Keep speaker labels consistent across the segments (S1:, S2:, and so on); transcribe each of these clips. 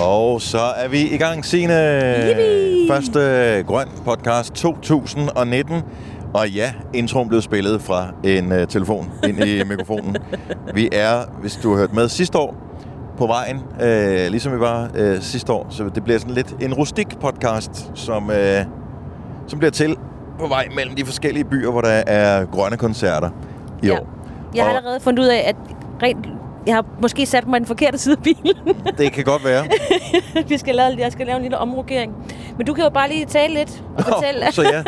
S1: Og så er vi i gang, Signe.
S2: Yippie!
S1: Første Grøn Podcast 2019. Og ja, introen blev spillet fra en øh, telefon ind i mikrofonen. Vi er, hvis du har hørt med sidste år, på vejen, øh, ligesom vi var øh, sidste år. Så det bliver sådan lidt en rustik podcast, som, øh, som bliver til på vej mellem de forskellige byer, hvor der er grønne koncerter i
S2: Ja.
S1: år.
S2: Jeg har
S1: Og-
S2: allerede fundet ud af, at rent, jeg har måske sat mig i den forkerte side af bilen.
S1: Det kan godt være.
S2: Vi skal lave, jeg skal lave en lille omrokering. Men du kan jo bare lige tale lidt og fortælle.
S1: så ja,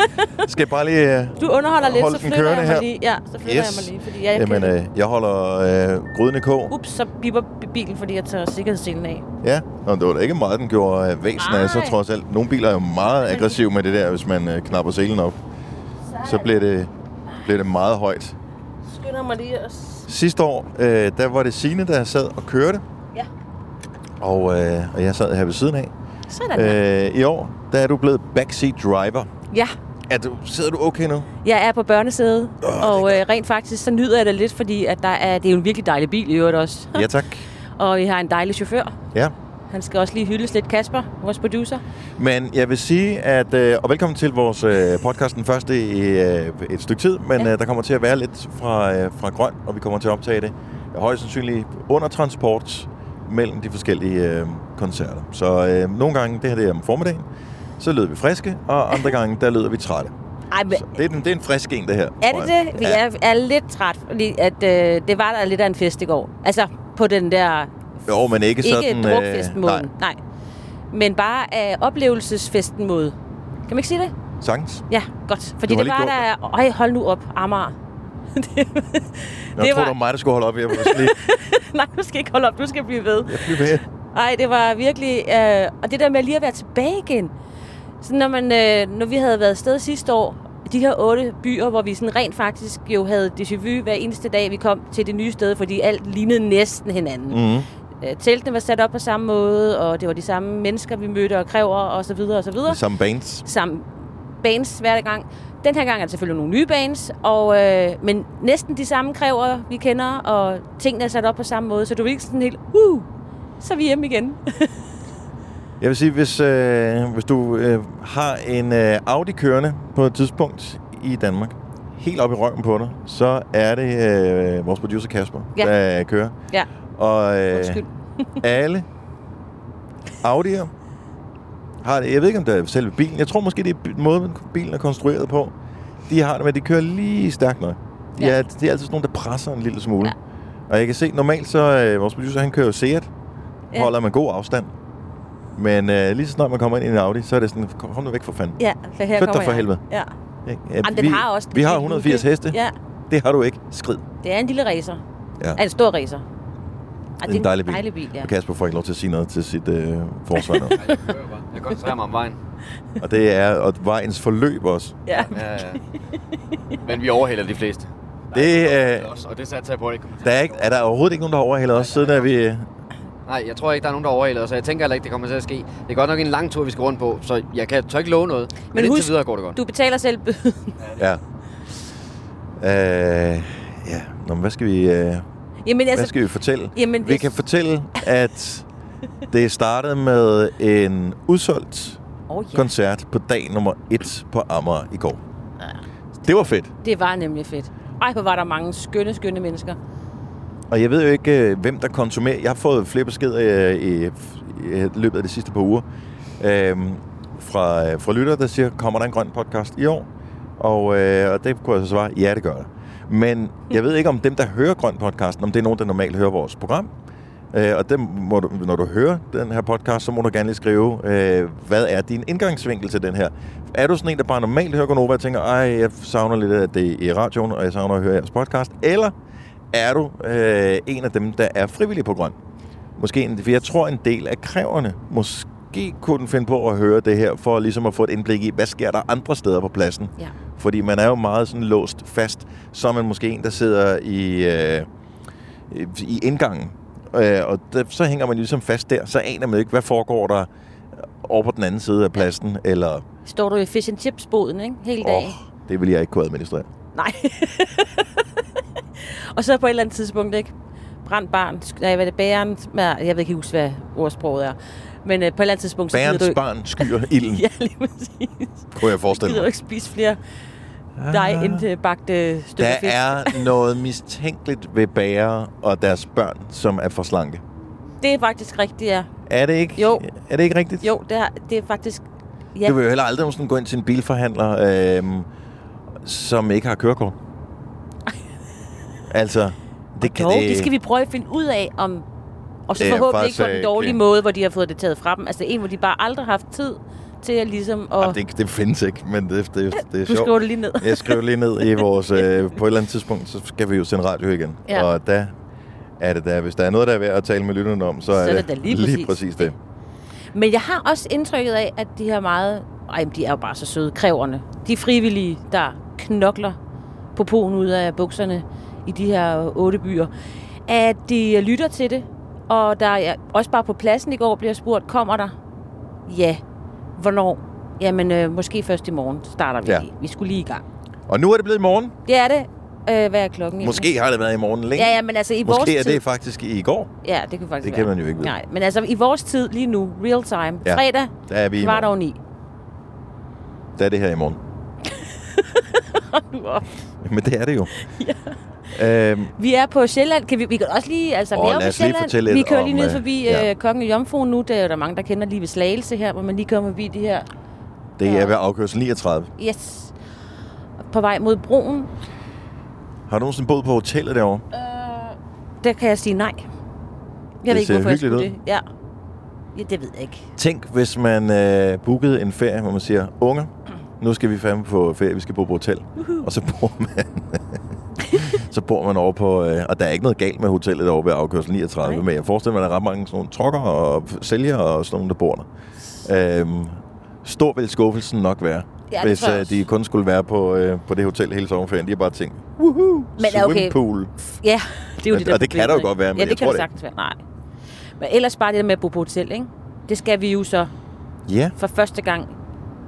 S1: skal jeg bare lige... Øh,
S2: Du underholder lidt,
S1: Hold
S2: så
S1: den
S2: flytter jeg mig
S1: kørende her.
S2: lige. Ja, så flytter
S1: Yes.
S2: jeg mig lige, fordi jeg
S1: Jamen,
S2: kan...
S1: øh, jeg holder øh, gryden i kog.
S2: Ups, så bipper bilen, fordi jeg tager sikkerhedsselen af.
S1: Ja, og det var da ikke meget, den gjorde øh, væsen af, så
S2: Nej.
S1: trods alt. Nogle biler er jo meget aggressive med det der, hvis man øh, knapper selen op. Så bliver det, bliver det meget højt.
S2: Skynder mig lige at...
S1: Sidste år, øh, der var det Signe, der sad og kørte,
S2: Ja,
S1: og, øh, og jeg sad her ved siden af.
S2: sådan øh.
S1: Øh, I år, der er du blevet backseat driver.
S2: Ja,
S1: Er du, sidder du okay nu?
S2: jeg er på børnesædet,
S1: er
S2: og øh, rent faktisk, så nyder jeg det lidt, fordi at der er, det er jo en virkelig dejlig bil i øvrigt også.
S1: Ja, tak.
S2: Og vi har en dejlig chauffør.
S1: Ja.
S2: Han skal også lige hyldes lidt, Kasper, vores producer.
S1: Men jeg vil sige, at... Øh, og velkommen til vores øh, podcast, den første i øh, et stykke tid. Men ja.
S2: Ja.
S1: øh, der kommer til at være lidt fra, øh, fra grøn, og vi kommer til at optage det øh, højst sandsynligt under transport mellem de forskellige øh, koncerter. Så øh, nogle gange, det her det er om formiddagen, så lyder vi friske, og andre gange, der lyder vi trætte.
S2: Ej, men
S1: Så det, er, den- det er en frisk en, det her.
S2: Er
S1: tror
S2: det
S1: jeg.
S2: det? Vi ja. er, er lidt træt, fordi at, øh, det var der lidt af en fest i går. Altså, på den der...
S1: Jo, men ikke,
S2: Ikke
S1: sådan... øh,
S2: drukfesten
S1: nej,
S2: måde. øh, Nej. Men bare af oplevelsesfesten måde. Kan man ikke sige det?
S1: sangs.
S2: Ja, godt. Fordi
S1: Du har
S2: det
S1: lige
S2: var der... Er, øj, hold nu op, Amager. det,
S1: Jeg tror, var... det var mig, der skulle holde op. Jeg var lige...
S2: Nej, du skal ikke holde op. Du skal blive ved.
S1: Jeg blev ved.
S2: Nej, det var virkelig... Øh, og det der med lige at være tilbage igen. Så når, man, øh, når vi havde været afsted sidste år, de her otte byer, hvor vi sådan rent faktisk jo havde déjà vu hver eneste dag, vi kom til det nye sted, fordi alt lignede næsten hinanden. Mm.
S1: Mm.
S2: Øh, teltene var sat op på samme måde, og det var de samme mennesker, vi mødte og kræver og så videre og så videre.
S1: Som bands.
S2: Samme bands hver gang. Den her gang er der selvfølgelig nogle nye bands, og, øh, men næsten de samme kræver, vi kender, og tingene er sat op på samme måde, så du er ikke sådan helt, uh, så er vi hjemme igen.
S1: Jeg vil sige, hvis, øh, hvis du øh, har en øh, Audi kørende på et tidspunkt i Danmark, helt op i røven på dig, så er det øh, vores producer Kasper, ja.
S2: Ja.
S1: der øh, kører.
S2: ja.
S1: Og øh,
S2: Undskyld.
S1: alle Audi'er har det. Jeg ved ikke, om det er selve bilen. Jeg tror måske, det er bi- måden, bilen er konstrueret på. De har det med, at de kører lige stærkt nok. De,
S2: Ja.
S1: er, de er altid sådan nogle, der presser en lille smule.
S2: Ja.
S1: Og jeg kan se, normalt så, øh, vores producer, han kører jo Seat.
S2: Ja.
S1: Holder man god afstand. Men øh, lige så snart man kommer ind i en Audi, så er det sådan, kom kom nu væk for fanden.
S2: Ja, for her
S1: Flyt dig
S2: kommer
S1: for
S2: jeg.
S1: helvede.
S2: Ja.
S1: Ikke? Ja,
S2: Jamen, den har også
S1: vi har
S2: lidt
S1: 180
S2: luke.
S1: heste.
S2: Ja,
S1: Det har du ikke. Skrid.
S2: det er en lille racer.
S1: Ja.
S2: Ja. En stor racer. Ej,
S1: Det er en dejlig bil.
S2: dejlig bil ja.
S1: Og Kasper får ikke lov til at sige noget til sit øh, forsvar. nu.
S3: Jeg kører bare. Jeg koncentrerer mig om vejen.
S1: og det er og vejens forløb også.
S2: ja.
S3: Ja, ja. Men vi overhælder de fleste.
S1: Det,
S3: Det
S1: øh,
S3: også, og det satte jeg på, at det kommer til.
S1: der er, ikke, er der overhovedet ikke nogen, der har overhældet os, siden at vi...
S3: Nej, jeg tror ikke, der er nogen, der overhælder os, og jeg tænker heller ikke, det kommer til at ske. Det er godt nok en lang tur, vi skal rundt på, så jeg kan tør ikke love noget. Men, men indtil videre går det godt.
S2: du betaler selv bøden.
S1: Ja. Øh, ja. Nå, men hvad skal vi, øh,
S2: Jamen,
S1: hvad
S2: altså,
S1: skal vi fortælle?
S2: jamen,
S1: Vi kan fortælle, at det startede med en udsolgt
S2: oh, ja.
S1: koncert på dag nummer 1 på Amager i går. Det var fedt.
S2: Det var nemlig fedt. Ej, hvor var der mange skønne, skønne mennesker.
S1: Og jeg ved jo ikke, øh, hvem der konsumerer. Jeg har fået flere beskeder øh, i, i løbet af de sidste par uger øhm, fra, øh, fra lytter, der siger, kommer der en grøn podcast i år? Og, øh, og det kunne jeg så svare, ja, det gør der. Men jeg ved ikke, om dem, der hører grøn podcasten, om det er nogen, der normalt hører vores program. Øh, og dem må du, når du hører den her podcast, så må du gerne lige skrive, øh, hvad er din indgangsvinkel til den her? Er du sådan en, der bare normalt hører Gonova og tænker, ej, jeg savner lidt af det i radioen, og jeg savner at høre jeres podcast? Eller er du øh, en af dem, der er frivillig på grøn? Måske en, for jeg tror, en del af kræverne måske kunne finde på at høre det her, for ligesom at få et indblik i, hvad sker der andre steder på pladsen?
S2: Ja.
S1: Fordi man er jo meget sådan låst fast, så er man måske en, der sidder i, øh, i indgangen. Øh, og der, så hænger man ligesom fast der, så aner man ikke, hvad foregår der over på den anden side af pladsen, eller
S2: Står du i fish and chips boden, ikke? Hele dagen.
S1: åh, det vil jeg ikke kunne administrere.
S2: Nej. og så på et eller andet tidspunkt, ikke? brændt barn, nej, hvad er det, bæren, jeg ved ikke huske, hvad ordsproget er. Men øh, på et eller andet tidspunkt, så
S1: Bærens
S2: gider du,
S1: barn skyer ilden,
S2: ja, lige præcis.
S1: kunne jeg forestille
S2: Gider du
S1: mig. Ah.
S2: ikke spise flere dig end øh, bagte stykker
S1: Der
S2: fisk?
S1: er noget mistænkeligt ved bærer og deres børn, som er for slanke.
S2: Det er faktisk rigtigt, ja.
S1: Er det ikke,
S2: Jo.
S1: Er det ikke rigtigt?
S2: Jo, det er, det er faktisk... Ja,
S1: Ja. Du vil jo heller aldrig nogensinde gå ind til en bilforhandler, øhm, som ikke har kørekort. altså, det kan
S2: dog,
S1: det...
S2: det skal vi prøve at finde ud af, om... Og så
S1: Det er
S2: forhåbentlig
S1: faktisk,
S2: ikke på den
S1: øh,
S2: dårlige
S1: det-
S2: måde, hvor de har fået det taget fra dem. Altså en, hvor de bare aldrig har haft tid til at ligesom... At,
S1: Jamen, det, det findes ikke, men det, det, det er
S2: du
S1: sjovt.
S2: skriver det lige ned.
S1: Jeg skriver lige ned i vores... Øh, på et eller andet tidspunkt, så skal vi jo sende radio igen.
S2: Ja.
S1: Og der er det der. Hvis der er noget, der er værd at tale med lytterne om, så,
S2: Så er
S1: er
S2: det da lige præcis
S1: lige præcis det.
S2: Men jeg har også indtrykket af, at de her meget... Ej, men de er jo bare så søde, kræverne. De frivillige, der knokler på poen ud af bukserne i de her otte byer, at de lytter til det. Og der er også bare på pladsen i går bliver spurgt, kommer der? Ja. Hvornår? Jamen, øh, måske først i morgen starter vi
S1: Ja.
S2: ja. lige. Vi skulle lige i gang.
S1: Og nu er det blevet i morgen.
S2: Det er det. Øh, hvad er klokken? egentlig?
S1: Måske har det været i morgen længe.
S2: Ja, ja, men altså i vores
S1: Måske er
S2: tid...
S1: det faktisk i går.
S2: Ja, det kan faktisk
S1: Det
S2: være.
S1: kan man jo ikke vide.
S2: Nej, men altså i vores tid lige nu, real time,
S1: Ja.
S2: ja. fredag,
S1: Der er vi i
S2: kvart
S1: morgen.
S2: over ni.
S1: Der er det her i morgen.
S2: Nu op.
S1: Men det er det jo. ja. øhm,
S2: Vi er på Sjælland. Kan vi, vi kan også lige... Altså,
S1: Åh,
S2: vi er jo
S1: lad
S2: på
S1: os lige
S2: Sjælland.
S1: fortælle
S2: vi
S1: lidt
S2: kører
S1: om,
S2: lige ned
S1: øh,
S2: forbi
S1: ja.
S2: ja. øh, Kongen og Jomfruen nu. Der er jo der mange, der kender lige ved Slagelse her, hvor man lige kommer forbi det her.
S1: det er
S2: Ja.
S1: ved afkørsel 39.
S2: Yes. På vej mod broen.
S1: Har du nogensinde boet på hotellet derovre?
S2: Øh, Der kan jeg sige nej. Jeg
S1: Det
S2: ved ikke,
S1: ser
S2: hvorfor jeg
S1: hyggeligt
S2: skulle
S1: ud.
S2: det. Ja. ja, det ved jeg ikke.
S1: Tænk, hvis man øh, bookede en ferie, hvor man siger, unger, nu skal vi fandme på ferie, vi skal bo på hotel. Og så bor man, så bor man over på, øh, og der er ikke noget galt med hotellet over ved afkørsel 39,
S2: Nej.
S1: men jeg forestiller mig, at der er ret mange sådan nogle trokker og sælgere og sådan nogle, der bor der. Øhm, stor vil skuffelsen nok være,
S2: Ja, det
S1: hvis
S2: tror jeg
S1: øh,
S2: også.
S1: de kun skulle være på, øh, på det hotel hele sommerferien. De har bare tænkt, woohoo,
S2: Men okay.
S1: swimmingpool.
S2: Ja, det er jo
S1: Men-
S2: det der
S1: og det kan
S2: problem,
S1: der jo
S2: ikke?
S1: godt være, men
S2: ja, det
S1: jeg
S2: kan
S1: tror
S2: der
S1: det
S2: sagtens være. Nej. Men ellers bare det der med at bo på hotel, ikke? Det skal vi jo så
S1: Ja,
S2: for første gang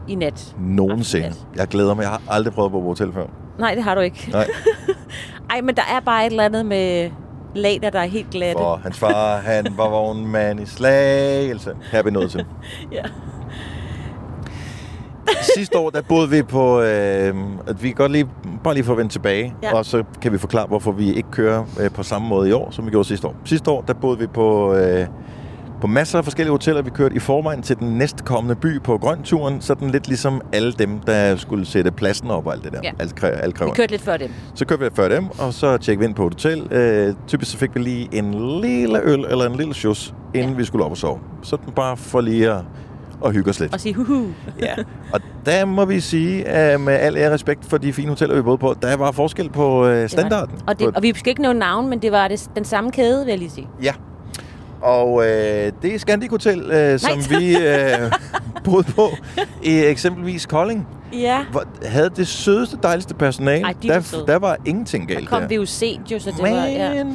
S2: i nat.
S1: nogensinde.
S2: Aftenpas.
S1: Jeg glæder mig. Jeg har aldrig prøvet at bo på hotel før.
S2: Nej, det har du ikke.
S1: Nej.
S2: Ej, men der er bare et eller andet med lader, der er helt glatte.
S1: For hans far, han var vognmand i Slagelse. Her er vi nået til.
S2: Ja.
S1: Sidste år, der boede vi på, øh, at vi kan godt lige, bare lige for at vende tilbage,
S2: Ja.
S1: og så kan vi forklare, hvorfor vi ikke kører øh, på samme måde i år, som vi gjorde sidste år. Sidste år, der boede vi på, øh, på masser af forskellige hoteller. Vi kørte i forvejen til den næstkommende by på Grønturen, sådan lidt ligesom alle dem, der skulle sætte pladsen op og alt det der.
S2: Ja.
S1: Alt, kræ- alt
S2: Vi
S1: kræver.
S2: kørte lidt før dem.
S1: Så købte jeg før dem, og så tjekkede vi ind på et hotel. Øh, typisk så fik vi lige en lille øl eller en lille sjus, inden ja. vi skulle op og sove. Sådan bare for lige at, at hygge os lidt.
S2: Og sige huhu.
S1: Ja. og der må vi sige, øh, med al ære og respekt for de fine hoteller, vi boede på, der var forskel på øh, standarden.
S2: Og, det,
S1: på,
S2: og vi skal ikke nævne navn, men det var det, den samme kæde, vil jeg lige sige.
S1: ja. og øh, det er Scandic Hotel, øh, som vi øh, boede på i eksempelvis Kolding.
S2: Ja.
S1: Hvor, havde det sødeste, dejligste personale.
S2: Ej, de var
S1: der,
S2: søde.
S1: der var ingenting galt
S2: Der kom
S1: der.
S2: vi jo sent, jo, så det
S1: Men
S2: var... Ja.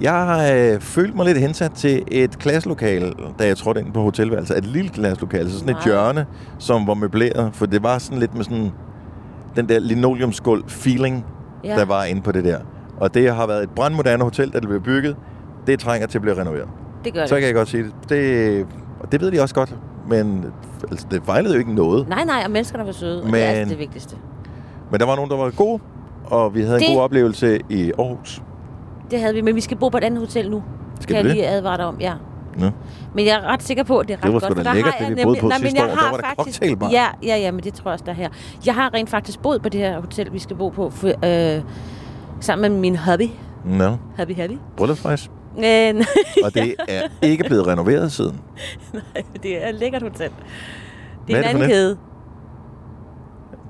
S1: jeg har øh, følt mig lidt hensat til et klasselokale, da jeg trådte ind på hotelværelset. Et lille klasselokale, så sådan et
S2: Nej.
S1: hjørne, som var møbleret. For det var sådan lidt med sådan den der linoleumsgulv-feeling, ja.
S2: Ja.
S1: der var inde på det der. Og det har været et brandmoderne hotel, da det blev bygget. Det trænger til at blive renoveret.
S2: Det gør
S1: Så
S2: det.
S1: kan jeg godt sige det. det. Og det ved de også godt. Men altså, det fejlede jo ikke noget.
S2: Nej, nej, og menneskerne var søde. Men... Det er
S1: Men-
S2: altså det vigtigste.
S1: Men der var nogen, der var gode. Og vi havde en
S2: Det-
S1: god oplevelse i Aarhus.
S2: Det havde vi, men vi skal bo på et andet hotel nu.
S1: Skal
S2: kan
S1: vi
S2: jeg
S1: det?
S2: lige advare dig om, ja.
S1: Ja.
S2: Men jeg er ret sikker på, at det er ret
S1: Det var sgu
S2: godt,
S1: da
S2: for der
S1: lækkert,
S2: har
S1: det
S2: jeg
S1: vi boede
S2: nemlig...
S1: på
S2: Nej, men
S1: sidste
S2: jeg
S1: år. Der
S2: har
S1: var der
S2: faktisk...
S1: cocktailbar.
S2: Ja, ja, ja, men det tror jeg også, der er her. Jeg har rent faktisk boet på det her hotel, vi skal bo på, for, øh, sammen med min hobby.
S1: Nå,
S2: Hobby, hobby.
S1: bryllupsrejse.
S2: Øh, nej,
S1: Og det er ikke blevet renoveret siden.
S2: det er et lækkert hotel. Det
S1: Hvad er
S2: er
S1: det
S2: en
S1: for
S2: anden
S1: net?
S2: kæde.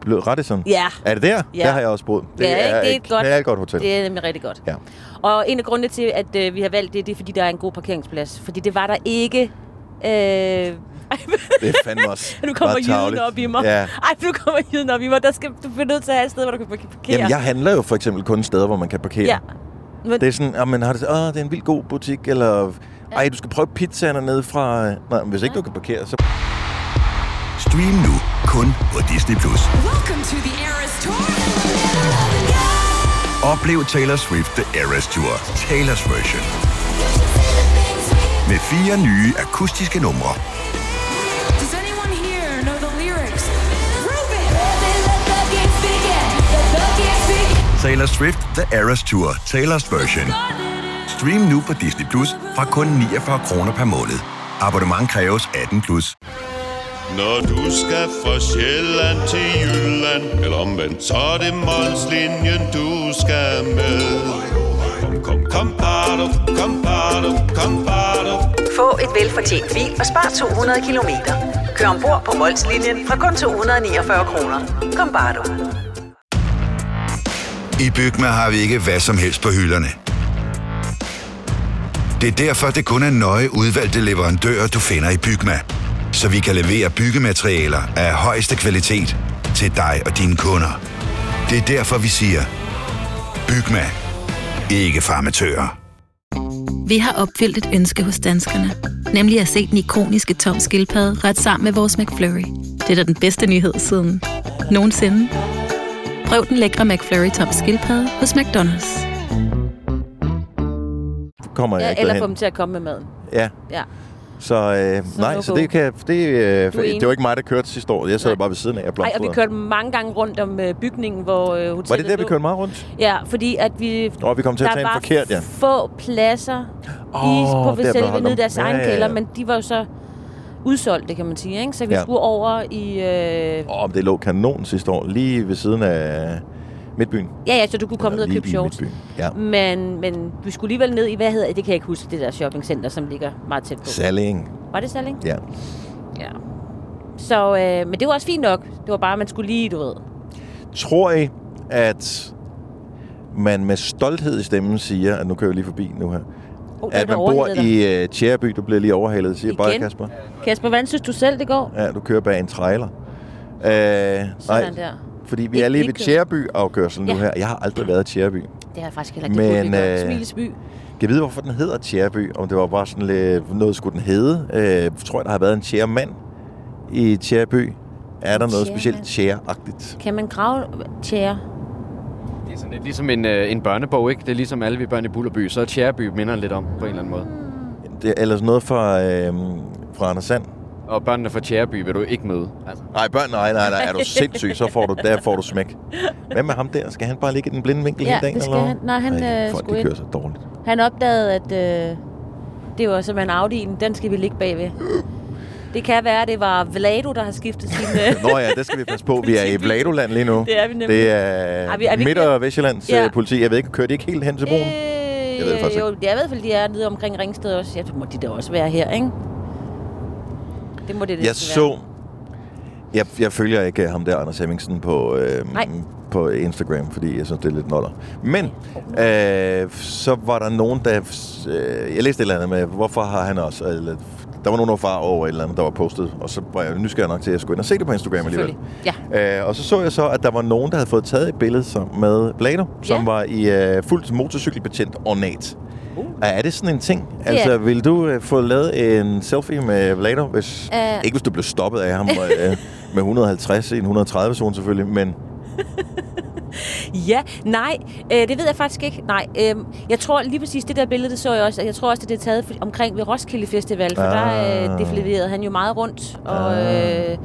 S1: Blev Radisson?
S2: Ja,
S1: Er det der?
S2: Ja.
S1: Der har jeg også boet.
S2: Ja, ikke? Det er et godt-
S1: knaldgodt hotel.
S2: det er nemlig rigtig godt.
S1: Ja.
S2: Og en af grundene til, at øh, vi har valgt det, det er, fordi der er en god parkeringsplads. Fordi det var der ikke... Øh,
S1: Det er fandme også
S2: nu kommer
S1: meget
S2: jyden
S1: tarveligt.
S2: op i mig.
S1: Ja.
S2: Ej, nu kommer jyden op i mig. Der skal, du bliver nødt til at have et sted, hvor du kan parkere.
S1: Jamen, jeg handler jo for eksempel kun steder, hvor man kan parkere.
S2: Ja. Men,
S1: Det er sådan, at man har det, åh, det er en vild god butik, eller ej, du skal prøve pizzaen hernede fra... Nej, men hvis ikke du kan parkere, så...
S4: Stream nu kun på Disney+. Plus.
S5: Welcome to the Eras Tour.
S4: Oplev Taylor Swift The Eras Tour, Taylor's version. Med fire nye akustiske numre.
S5: Does anyone here know the lyrics? Prove it!
S4: Taylor Swift The Eras Tour, Taylor's version. Stream nu på Disney Plus fra kun 49 kroner per måned. Abonnement kræves 18 plus.
S6: Når du skal fra Sjælland til Jylland Eller omvendt, så er det Molslinjen, du skal med Kom, kom, kom, bado, kom, bado, kom, bado.
S7: Få et velfortjent bil og spar 200 kilometer. Kør ombord på Molslinjen fra kun 249 kroner. Kom bare du.
S4: I Bygma har vi ikke hvad som helst på hylderne. Det er derfor, det kun er nøje udvalgte leverandører, du finder i Bygma. Så vi kan levere byggematerialer af højeste kvalitet til dig og dine kunder. Det er derfor, vi siger, Bygma. Ikke farmatører.
S8: Vi har opfyldt et ønske hos danskerne. Nemlig at se den ikoniske tom skildpadde ret sammen med vores McFlurry. Det er da den bedste nyhed siden nogensinde. Prøv den lækre McFlurry tom skildpadde hos McDonald's.
S1: Kommer jeg
S2: Ja,
S1: ikke
S2: eller få
S1: derhen.
S2: dem til at komme med maden.
S1: Ja,
S2: Ja.
S1: så, øh,
S2: Så
S1: nej,
S2: no
S1: så
S2: go.
S1: det kan... Det, øh,
S2: enig.
S1: det var ikke mig, der kørte sidste år. Jeg sad
S2: Nej.
S1: bare ved siden af og
S2: Ej, og
S1: blomstrede.
S2: vi kørte mange gange rundt om øh, bygningen, hvor øh, hotellet
S1: Var det der, vi
S2: lå.
S1: kørte meget rundt?
S2: Ja, fordi at vi...
S1: Nå, vi kom til at
S2: der
S1: tage en
S2: var
S1: forkert, ja.
S2: få pladser
S1: Åh,
S2: oh, i, på
S1: der blev
S2: selve
S1: holdt
S2: nede i
S1: om.
S2: deres
S1: Ja,
S2: egen
S1: ja, ja.
S2: kælder, men de var jo så udsolgte, kan man sige, ikke? Så vi
S1: Ja.
S2: ja. skulle over i... Øh...
S1: Åh, oh, det lå kanon sidste år, lige ved siden af Midtbyen.
S2: Ja, ja, så du kunne komme ned
S1: Eller
S2: og
S1: lige
S2: købe
S1: i
S2: shorts.
S1: Midtbyen, ja.
S2: Men, men vi skulle alligevel ned i, hvad hedder det, det kan jeg ikke huske, det der shoppingcenter, som ligger meget tæt på.
S1: Salling,
S2: Var det Salling?
S1: ja.
S2: Ja. Så, øh, men det var også fint nok. Det var bare, at man skulle lige, du ved.
S1: Tror I, at man med stolthed i stemmen siger, at nu kører jeg lige forbi nu her,
S2: Oh,
S1: at man bor i uh, Tjæreby, du bliver lige overhalet, siger
S2: Igen?
S1: bare Kasper.
S2: Kasper, hvordan synes du selv, det går?
S1: Ja, du kører bag en trailer. Øh, nej,
S2: Sådan der.
S1: fordi vi
S2: Ikke-
S1: er lige ved
S2: ikke-
S1: Tjæreby-afgørselen nu
S2: Ja.
S1: her. Jeg har aldrig været i Tjæreby.
S2: Det har jeg faktisk heller ikke. Det
S1: Men,
S2: burde vi
S1: øh,
S2: godt. Smilesby.
S1: Kan jeg vide, hvorfor den hedder Tjærby? Om det var bare sådan lidt, noget skulle den hedde? Øh, tror jeg, der har været en tjærmand i Tjærby. Er der noget specielt tjæragtigt?
S2: Kan man grave tjære?
S3: Det er sådan lidt ligesom en, øh, en børnebog, ikke? Det er ligesom alle vi børn i Bullerby. Så er Tjæreby minder lidt om, på en eller anden måde.
S1: Det er ellers noget fra, øh, fra Anders Sand.
S3: Og børnene fra Tjæreby vil du ikke møde. Altså,
S1: Nej, børn, nej, nej, nej, er du sindssyg, så får du, der får du smæk. Hvad med ham der? Skal han bare ligge i den blinde vinkel
S2: Ja,
S1: hele dagen?
S2: det skal
S1: eller?
S2: han. Nej, han, øh,
S1: folk,
S2: skulle
S1: de kører
S2: ind.
S1: så dårligt.
S2: Han opdagede, at øh, det var simpelthen Audi'en. Den skal vi ligge bagved. Det kan være, at det var Vlado, der har skiftet sin... Øh...
S1: Nå ja, det skal vi passe på. Vi er i Vladoland lige nu.
S2: Det er vi nemlig.
S1: Det er,
S2: Er vi- er vi ikke-
S1: Midt- og Vestjyllands
S2: Ja. Øh,
S1: ja. politi. Jeg ved ikke, kører de ikke helt hen til broen? Jeg ved det faktisk
S2: jo, jeg ved i hvert fald, de er nede omkring Ringsted også. Ja, det må de da også være her, ikke? Det må det, det
S1: Jeg så... Jeg, jeg følger ikke øh, ham der, Anders Hemmingsen, på, øh,
S2: Nej.
S1: på Instagram, fordi jeg synes, det er lidt noller. Men øh, så var der nogen, der... Øh, jeg læste et eller andet med, hvorfor har han også... Eller, der var nogen, der var far over et eller andet, der var postet, og så var jeg nysgerrig nok til, at jeg skulle ind og se det på Instagram alligevel.
S2: Selvfølgelig,
S1: Ja. Øh, og så så jeg så, at der var nogen, der havde fået taget et billede som, med Blado, som
S2: Ja.
S1: var i øh, fuldt motorcykelbetjent ornat. Uh. Er det sådan en ting?
S2: er
S1: Altså,
S2: det.
S1: vil du øh, få lavet en selfie med Vlado, hvis...
S2: Øh.
S1: Ikke hvis du blev stoppet af ham øh, med 150 i en 130-zone selvfølgelig, men
S2: Ja, nej, øh, det ved jeg faktisk ikke. Nej, øh, jeg tror lige præcis det der billede, det så jeg også. og Jeg tror også, at det er taget for- omkring ved Roskilde Festival, for
S1: Ah.
S2: der øh, defilerede han jo meget rundt og øh,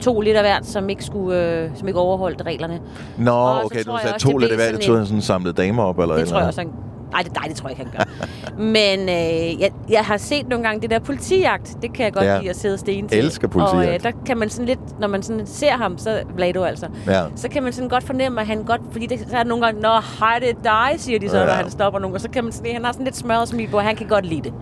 S2: tog lidt af hvert, som ikke, skulle, øh, som ikke overholdt reglerne.
S1: Nå,
S2: Og så
S1: okay, du
S2: tror jeg
S1: sagde
S2: også,
S1: to
S2: det
S1: lidt af
S2: blev
S1: hvert, det
S2: sådan
S1: tog
S2: en-
S1: han sådan samlet damer op, eller
S2: Det
S1: eller
S2: tror jeg også, han... Nej det, nej, det tror jeg ikke, han gør. Men øh, jeg, jeg har set nogle gange det der politijagt. Det kan jeg godt
S1: Ja.
S2: ja. lide at sidde og stene til.
S1: Elsker
S2: Og
S1: politijagt.
S2: øh, der kan man sådan lidt, når man sådan ser ham, så Vlado altså,
S1: Ja.
S2: så kan man sådan godt fornemme, at han godt, fordi det, så er der nogle gange, Nå, hej, det er dig, siger de så,
S1: Ja.
S2: ja. når han stopper nogen. Og så kan man sådan, han har sådan lidt smørret smil på, og han kan godt lide det.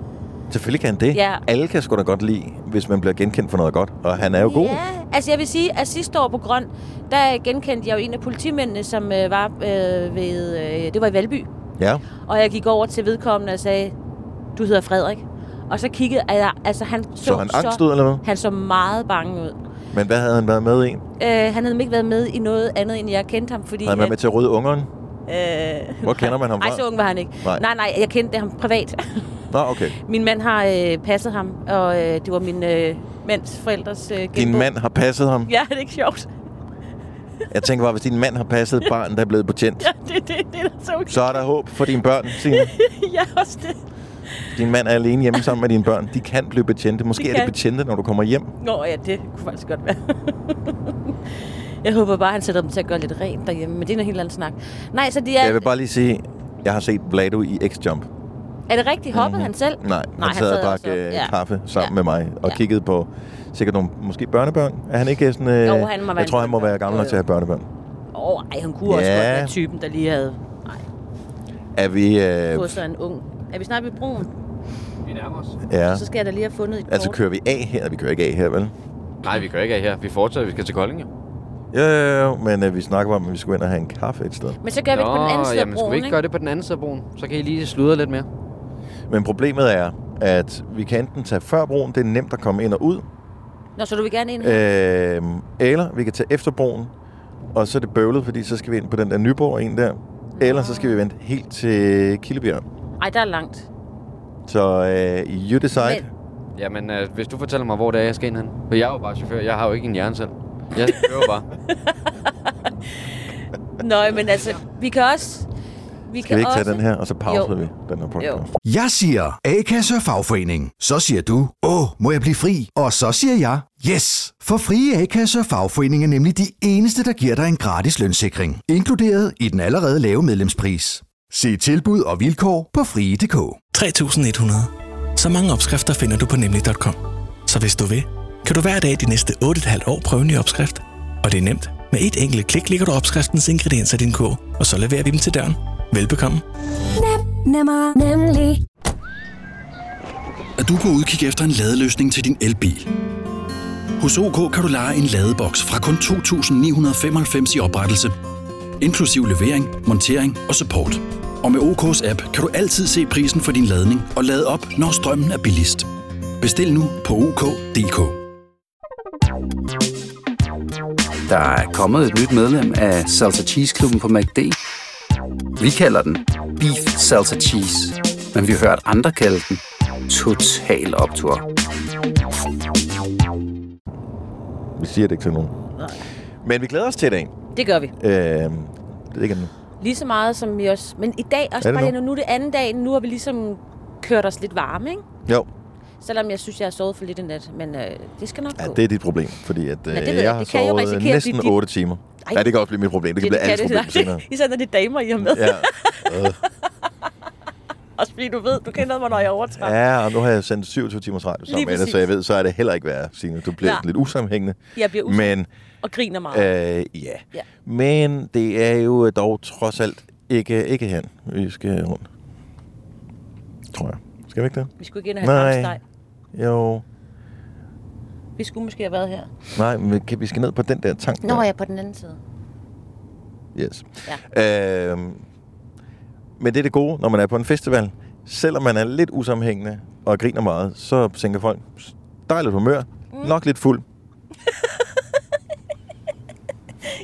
S1: Selvfølgelig kan han det.
S2: Ja.
S1: Alle kan sgu da godt lide, hvis man bliver genkendt for noget godt, og han er jo god.
S2: Ja, altså jeg vil sige, at sidste år på Grøn, der genkendte jeg jo en af politimændene, som øh, var øh, ved, øh, det var i Valby.
S1: Ja.
S2: Og jeg gik over til vedkommende og sagde, du hedder Frederik. Og så kiggede jeg, altså han så,
S1: Så han angstede, eller hvad?
S2: Han så meget bange ud.
S1: Men hvad havde han været med i? Havde
S2: Øh, han havde ikke været med i noget andet, end jeg kendte ham, fordi...
S1: han været med til Røde Ungeren?
S2: at, øh,
S1: Hvor kender man ham
S2: Ej,
S1: fra?
S2: så ung var han ikke.
S1: Nej.
S2: nej, nej jeg kendte ham privat.
S1: Nå, okay.
S2: Min mand har øh, passet ham, og øh, det var min øh, mands forældres øh, genbo.
S1: Din mand har passet ham?
S2: Ja, det er ikke sjovt.
S1: Jeg tænker bare, hvis din mand har passet et barn, der er blevet betjent,
S2: Ja, det, det, det er da så okay.
S1: så er der håb for dine børn, Signe.
S2: ja, også det.
S1: Din mand er alene hjemme sammen med dine børn. De kan blive betjente. Måske
S2: De
S1: er det
S2: kan.
S1: betjente, når du kommer hjem.
S2: Nå ja, det kunne faktisk godt være. jeg håber bare, han sætter dem til at gøre lidt rent derhjemme, men det er en helt anden snak. Nej, så de er...
S1: Jeg vil bare lige sige, jeg har set Vlado i X-Jump.
S2: Er det rigtigt? Hoppede mm-hmm. han selv?
S1: Mhm. Nej, Nej han sad og drak
S2: også
S1: øh,
S2: op.
S1: ja. kaffe sammen ja.
S2: Ja.
S1: med mig og ja.
S2: Ja.
S1: kiggede på sikkert nogle måske børnebørn. Er han ikke sådan... Øh,
S2: Jo, han må være
S1: jeg
S2: en
S1: tror, han må
S2: børnebørn.
S1: være gammel nok til at have børnebørn.
S2: Åh, oh, ej, han kunne ja. også
S1: Ja.
S2: godt være typen, der lige havde
S1: Er vi...
S2: fået
S1: Øh,
S2: sig en ung. Er vi snart ved broen?
S3: Vi nærmer os.
S1: ja.
S2: Så skal jeg da lige have fundet et
S1: Altså,
S2: kort.
S1: kører vi af her? Vi kører ikke af her, vel?
S3: Nej, vi kører ikke af her. Vi fortsætter. Vi skal til Kolding, jo.
S1: Jo, jo, jo, men øh, vi snakker om, at vi skulle ind og have en kaffe et sted.
S2: Men så gør vi det på den anden side af
S3: jamen, skulle
S2: broen,
S3: vi ikke gøre det på den anden side af broen? Så kan I lige sludre lidt mere.
S1: Men problemet er, at vi kan enten tage før broen, det er nemt at komme ind og ud,
S2: Nå, så du vil gerne ind her?
S1: øh, eller vi kan tage efter broen, og så er det bøvlet, fordi så skal vi ind på den der Nyborg en der, eller så skal vi vente helt til Kildebjerg.
S2: Ej, der er langt.
S1: Så øh, you decide.
S2: Men-
S3: Jamen, øh, hvis du fortæller mig, hvor det er, jeg skal ind hen. For jeg er jo bare chauffør. Jeg har jo ikke en hjerne selv. Jeg kører bare.
S2: Nå, men altså, vi kan også... Vi
S1: Skal vi ikke tage
S2: også-
S1: den her, og så pauser
S2: Jo.
S1: vi den her podcast? Jo.
S9: Jeg siger A-kasse og fagforening. Så siger du, åh, må jeg blive fri? Og så siger jeg, yes! For frie A-kasse og fagforening er nemlig de eneste, der giver dig en gratis lønssikring. Inkluderet i den allerede lave medlemspris. Se tilbud og vilkår på frie.dk.
S10: 3100. Så mange opskrifter finder du på nemlig.com. Så hvis du vil, kan du hver dag de næste 8,5 år prøve en ny opskrift. Og det er nemt. Med et enkelt klik ligger du opskriftens ingredienser i din kog, og så leverer vi dem til døren. Velbekomme.
S11: Nemmer, nemlig.
S10: Er du på udkig efter en ladeløsning til din elbil? Hos OK kan du lege en ladeboks fra kun 2.995 i oprettelse, inklusiv levering, montering og support. Og med OK's app kan du altid se prisen for din ladning og lade op, når strømmen er billigst. Bestil nu på OK.dk.
S12: Der er kommet et nyt medlem af Salsa Cheese Klubben på MACD. Vi kalder den Beef Salsa Cheese, men vi har hørt andre kalde den Total Optor.
S1: Vi siger det ikke til nogen. Men vi glæder os til i dag.
S2: Det gør vi.
S1: Øh, det er ikke nu.
S2: Lige så meget som vi også... Men i dag også
S1: Er det
S2: bare
S1: nu?
S2: lige nu. Nu er det anden dag. Nu har vi ligesom kørt os lidt varme, ikke?
S1: Jo,
S2: Selvom jeg synes, jeg har sovet for lidt i nat. Men øh, det skal nok
S1: ja,
S2: gå.
S1: det er dit problem, fordi at, øh,
S2: det ved
S1: jeg,
S2: jeg
S1: jeg
S2: ikke.
S1: har
S2: Det kan jo risikere
S1: sovet
S2: at blive
S1: næsten
S2: dit-
S1: 8 timer.
S2: Ej.
S1: Ja, det kan også blive mit problem. Det kan blive alles problem senere.
S2: Især når det er damer, I har med. Ja.
S1: Ja. Øh.
S2: Også fordi du ved, du kender mig, når jeg overtræder.
S1: ja, og nu har jeg sendt 27 timers radio sammen
S2: Lige
S1: med dig, så
S2: præcis.
S1: jeg ved, så er det heller ikke værre, Signe. Du bliver
S2: Nej.
S1: lidt usammenhængende.
S2: Jeg bliver usund
S1: Men
S2: og griner meget.
S1: øh, ja.
S2: Ah. Ja.
S1: Men det er jo dog trods alt ikke, ikke hen, vi skal rundt. Tror jeg. Skal vi ikke det?
S2: Vi skulle ikke ind og have
S1: Nej.
S2: hamsteg.
S1: Jo.
S2: Vi skulle måske have været her.
S1: Nej, men vi kan- vi skal ned på den der tank.
S2: Nå,
S1: der.
S2: jeg er på den anden side.
S1: Yes. Ja. Øhm, men det er det gode, når man er på en festival. Selvom man er lidt usammenhængende og griner meget, så tænker folk, "S- dejligt humør, mm. nok lidt fuld.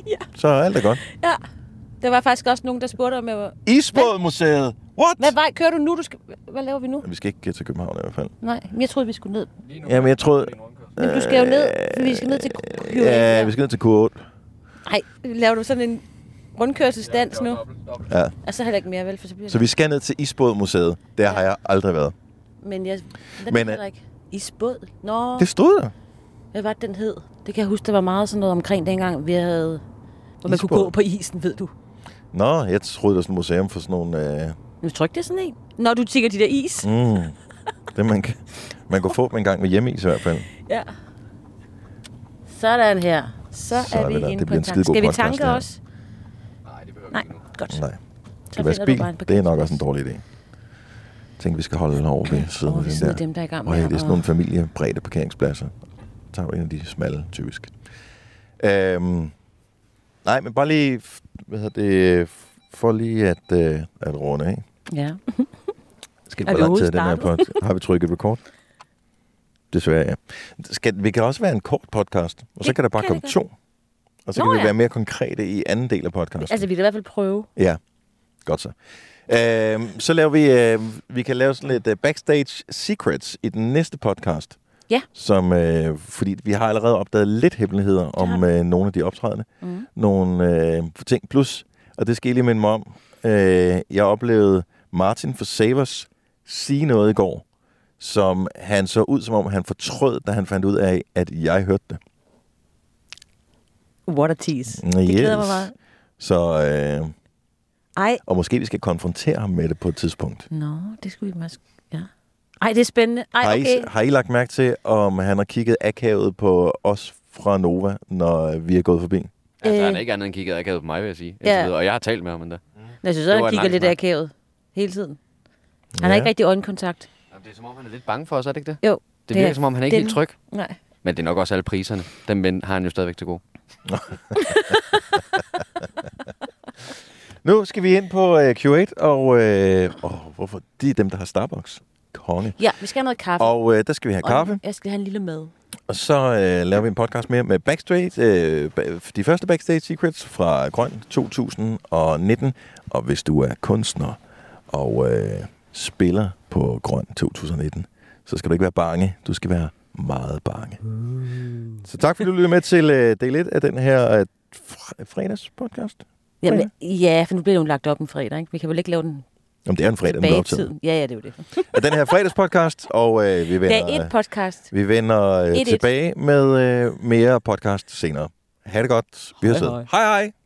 S2: Ja.
S1: Så er alt er godt.
S2: Ja. Der var faktisk også nogen, der spurgte om, jeg var...
S1: Isbådmuseet! What?
S2: Hvad vej kører du nu? Du skal... Hvad laver vi nu?
S1: Vi skal ikke til København i hvert fald.
S2: Nej, men jeg troede, vi skulle ned.
S1: Jamen, jeg troede...
S2: Men du skal jo ned. Vi skal ned til Kyrén.
S1: Ja, vi skal ned til K8.
S2: Nej, laver du sådan en rundkørselsdans nu?
S1: Ja.
S2: Og så heller ikke mere, vel? For så bliver
S1: Så vi skal ned til Isbådmuseet. Der har jeg aldrig været.
S2: det- Men jeg... Den
S1: Men,
S2: Men,
S1: øh,
S2: heller ikke. Isbåd? Nå,
S1: Det
S2: det...
S1: stod der.
S2: hvad var det, den hed? Det kan jeg huske, der var meget sådan noget omkring dengang, vi havde... Hvor man kunne
S1: Isbåd.
S2: gå på isen, ved du.
S1: Nå, jeg troede, det var sådan et museum for sådan nogle... Øh,
S2: Nu tryk det sådan en. Når du tigger de der is. Mm.
S1: Mm. Det man, kan- man kunne få dem en gang med hjemmeis i hvert fald.
S2: Ja. Sådan her. Så,
S1: Så
S2: er
S1: er
S2: vi
S1: vi der.
S2: inde
S1: Det
S2: på
S1: bliver en skidegod
S2: en tanke. Skal vi
S1: podcast,
S2: tanke
S1: det her.
S2: også?
S3: Nej, det behøver
S2: Nej, godt.
S1: Nej.
S2: Så
S1: Skal være
S2: finder du
S1: spil?
S2: bare en
S1: Det er nok
S2: parkeringsplads.
S1: også en dårlig idé. Jeg tænker, vi skal holde over ved siden
S2: Over
S1: af den
S2: ved siden
S1: der.
S2: af dem, der er i gang
S1: Øj,
S2: med
S1: det er
S2: at-
S1: sådan nogle familiebredte parkeringspladser. Så tager vi en af de smalle, typisk. Øhm, nej, men bare lige, f- hvad hedder det, f- for lige at, øh, at runde af.
S2: Ja.
S1: Skal
S2: Er
S1: det
S2: vi
S1: lang tid den her
S2: overhovedet
S1: podcast? Har vi trykket record? Desværre, ja. Skal, vi kan også være en kort podcast, og så
S2: Det
S1: kan der bare
S2: kan
S1: komme
S2: det
S1: to. Og så
S2: Nå
S1: kan vi
S2: ja.
S1: være mere konkrete i anden del af podcasten.
S2: Altså, vi kan i hvert fald prøve.
S1: Ja, godt så. Øhm, Øh, så laver vi, øh, vi kan lave sådan lidt øh, backstage secrets i den næste podcast,
S2: Ja.
S1: Som, øh, fordi vi har allerede opdaget lidt hemmeligheder om øh, nogle af de optrædende.
S2: Mhm.
S1: Mm. Nogle øh, ting. Plus, og det skal jeg lige minde mig om, øh, jeg oplevede Martin for Savers sige noget i går, som han så ud, som om han fortrød, da han fandt ud af, at jeg hørte det.
S2: What a tease.
S1: Mm, Yes.
S2: Det glæder mig meget.
S1: Så, øh,
S2: Ej,
S1: og måske vi skal konfrontere ham med det på et tidspunkt.
S2: Nå, det skulle vi måske... Ja. Ej, det er spændende. Ej,
S1: Har,
S2: okay.
S1: I, har I lagt mærke til, om han har kigget akavet på os fra Nova, når vi er gået forbi?
S3: Altså, han
S2: Øh.
S3: er ikke andet end kigget akavet på mig, vil jeg sige.
S2: Ja.
S3: Ja. Videre. Og jeg har talt med ham endda.
S2: Jeg synes
S3: Det
S2: også, han
S3: var en
S2: kigger
S3: lang
S2: lidt
S3: snak.
S2: akavet hele tiden. Han har
S3: Ja.
S2: ikke rigtig øjenkontakt.
S3: Jamen, det er som om, han er lidt bange for os, er det ikke det?
S2: Jo.
S3: Det virker som om, han er ikke
S2: den-
S3: helt tryg.
S2: Nej.
S3: Men det er nok også alle priserne. Dem men har han jo stadigvæk til gode.
S1: Nu skal vi ind på øh, Q8, og øh, åh, hvorfor? de er dem, der har Starbucks. Konge.
S2: Ja, vi skal have noget kaffe.
S1: Og øh, der skal vi have
S2: Og
S1: kaffe,
S2: Jeg skal have en lille mad.
S1: og så øh, laver vi en podcast mere med Backstage, øh, ba- de første Backstage Secrets fra Grøn 2019. Og hvis du er kunstner og øh, spiller på Grøn 2019, så skal du ikke være bange, du skal være meget bange. Så tak fordi du lyttede med til øh, del 1 af den her øh, fr- fredagspodcast.
S2: Jamen, ja, for nu bliver det jo lagt op en fredag, ikke? Vi kan vel ikke lave den
S1: Jamen, det er en fredag, den
S2: tilbage
S1: blev
S2: i
S1: optaget.
S2: tiden. Ja, ja, det er jo det.
S1: af den her fredagspodcast, og øh, vi
S2: Det
S1: vender,
S2: er et podcast.
S1: vi vender øh,
S2: Et, et.
S1: tilbage med øh, mere podcast senere. Ha' det godt. Vi har
S2: Hej,
S1: siddet.
S2: hej.
S1: Hej hej.